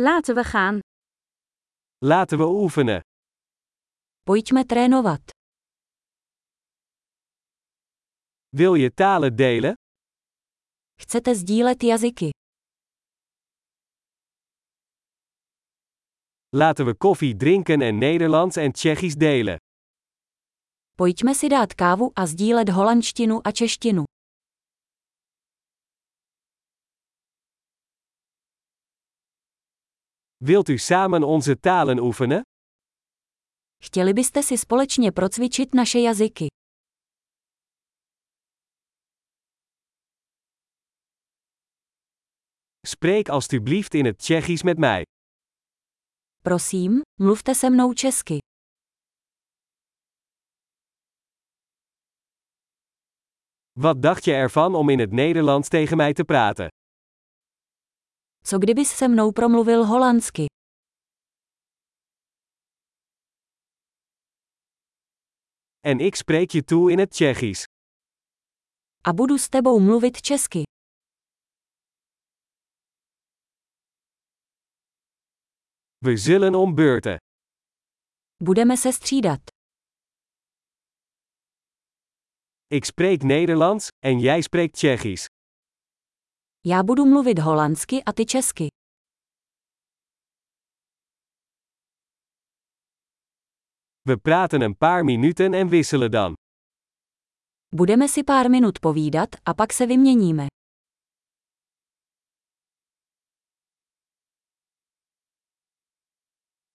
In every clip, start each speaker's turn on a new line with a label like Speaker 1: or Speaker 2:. Speaker 1: Laten we gaan.
Speaker 2: Laten we oefenen.
Speaker 1: Pojďme trénovat.
Speaker 2: Wil je talen delen?
Speaker 1: Chcete sdílet jazyky.
Speaker 2: Laten we koffie drinken en Nederlands en Tsjechisch delen.
Speaker 1: Pojďme si dát kávu a sdílet holandštinu a češtinu.
Speaker 2: Wilt u samen onze talen oefenen?
Speaker 1: Chtěli byste si společně procvičit naše jazyky.
Speaker 2: Spreek alstublieft in het Tsjechisch met mij.
Speaker 1: Prosím, mluvte se mnou česky.
Speaker 2: Wat dacht je ervan om in het Nederlands tegen mij te praten?
Speaker 1: Co kdybys se mnou promluvil holandsky?
Speaker 2: En ik spreek je toe in het Tsjechisch.
Speaker 1: A budu s tebou mluvit česky.
Speaker 2: We zullen om beurten.
Speaker 1: Budeme se střídat.
Speaker 2: Ik spreek Nederlands en jij spreekt Tsjechisch.
Speaker 1: Já budu mluvit holandsky a ty česky.
Speaker 2: We praten een paar minuten en wisselen dan.
Speaker 1: Budeme si pár minut povídat a pak se vyměníme.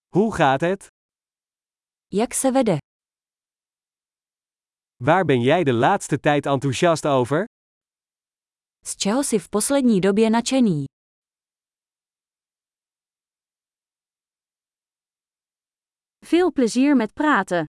Speaker 2: Hoe gaat het?
Speaker 1: Jak se vede?
Speaker 2: Waar ben jij de laatste tijd enthousiast over?
Speaker 1: Z čeho si v poslední době nadšený? Veel plezier met praten.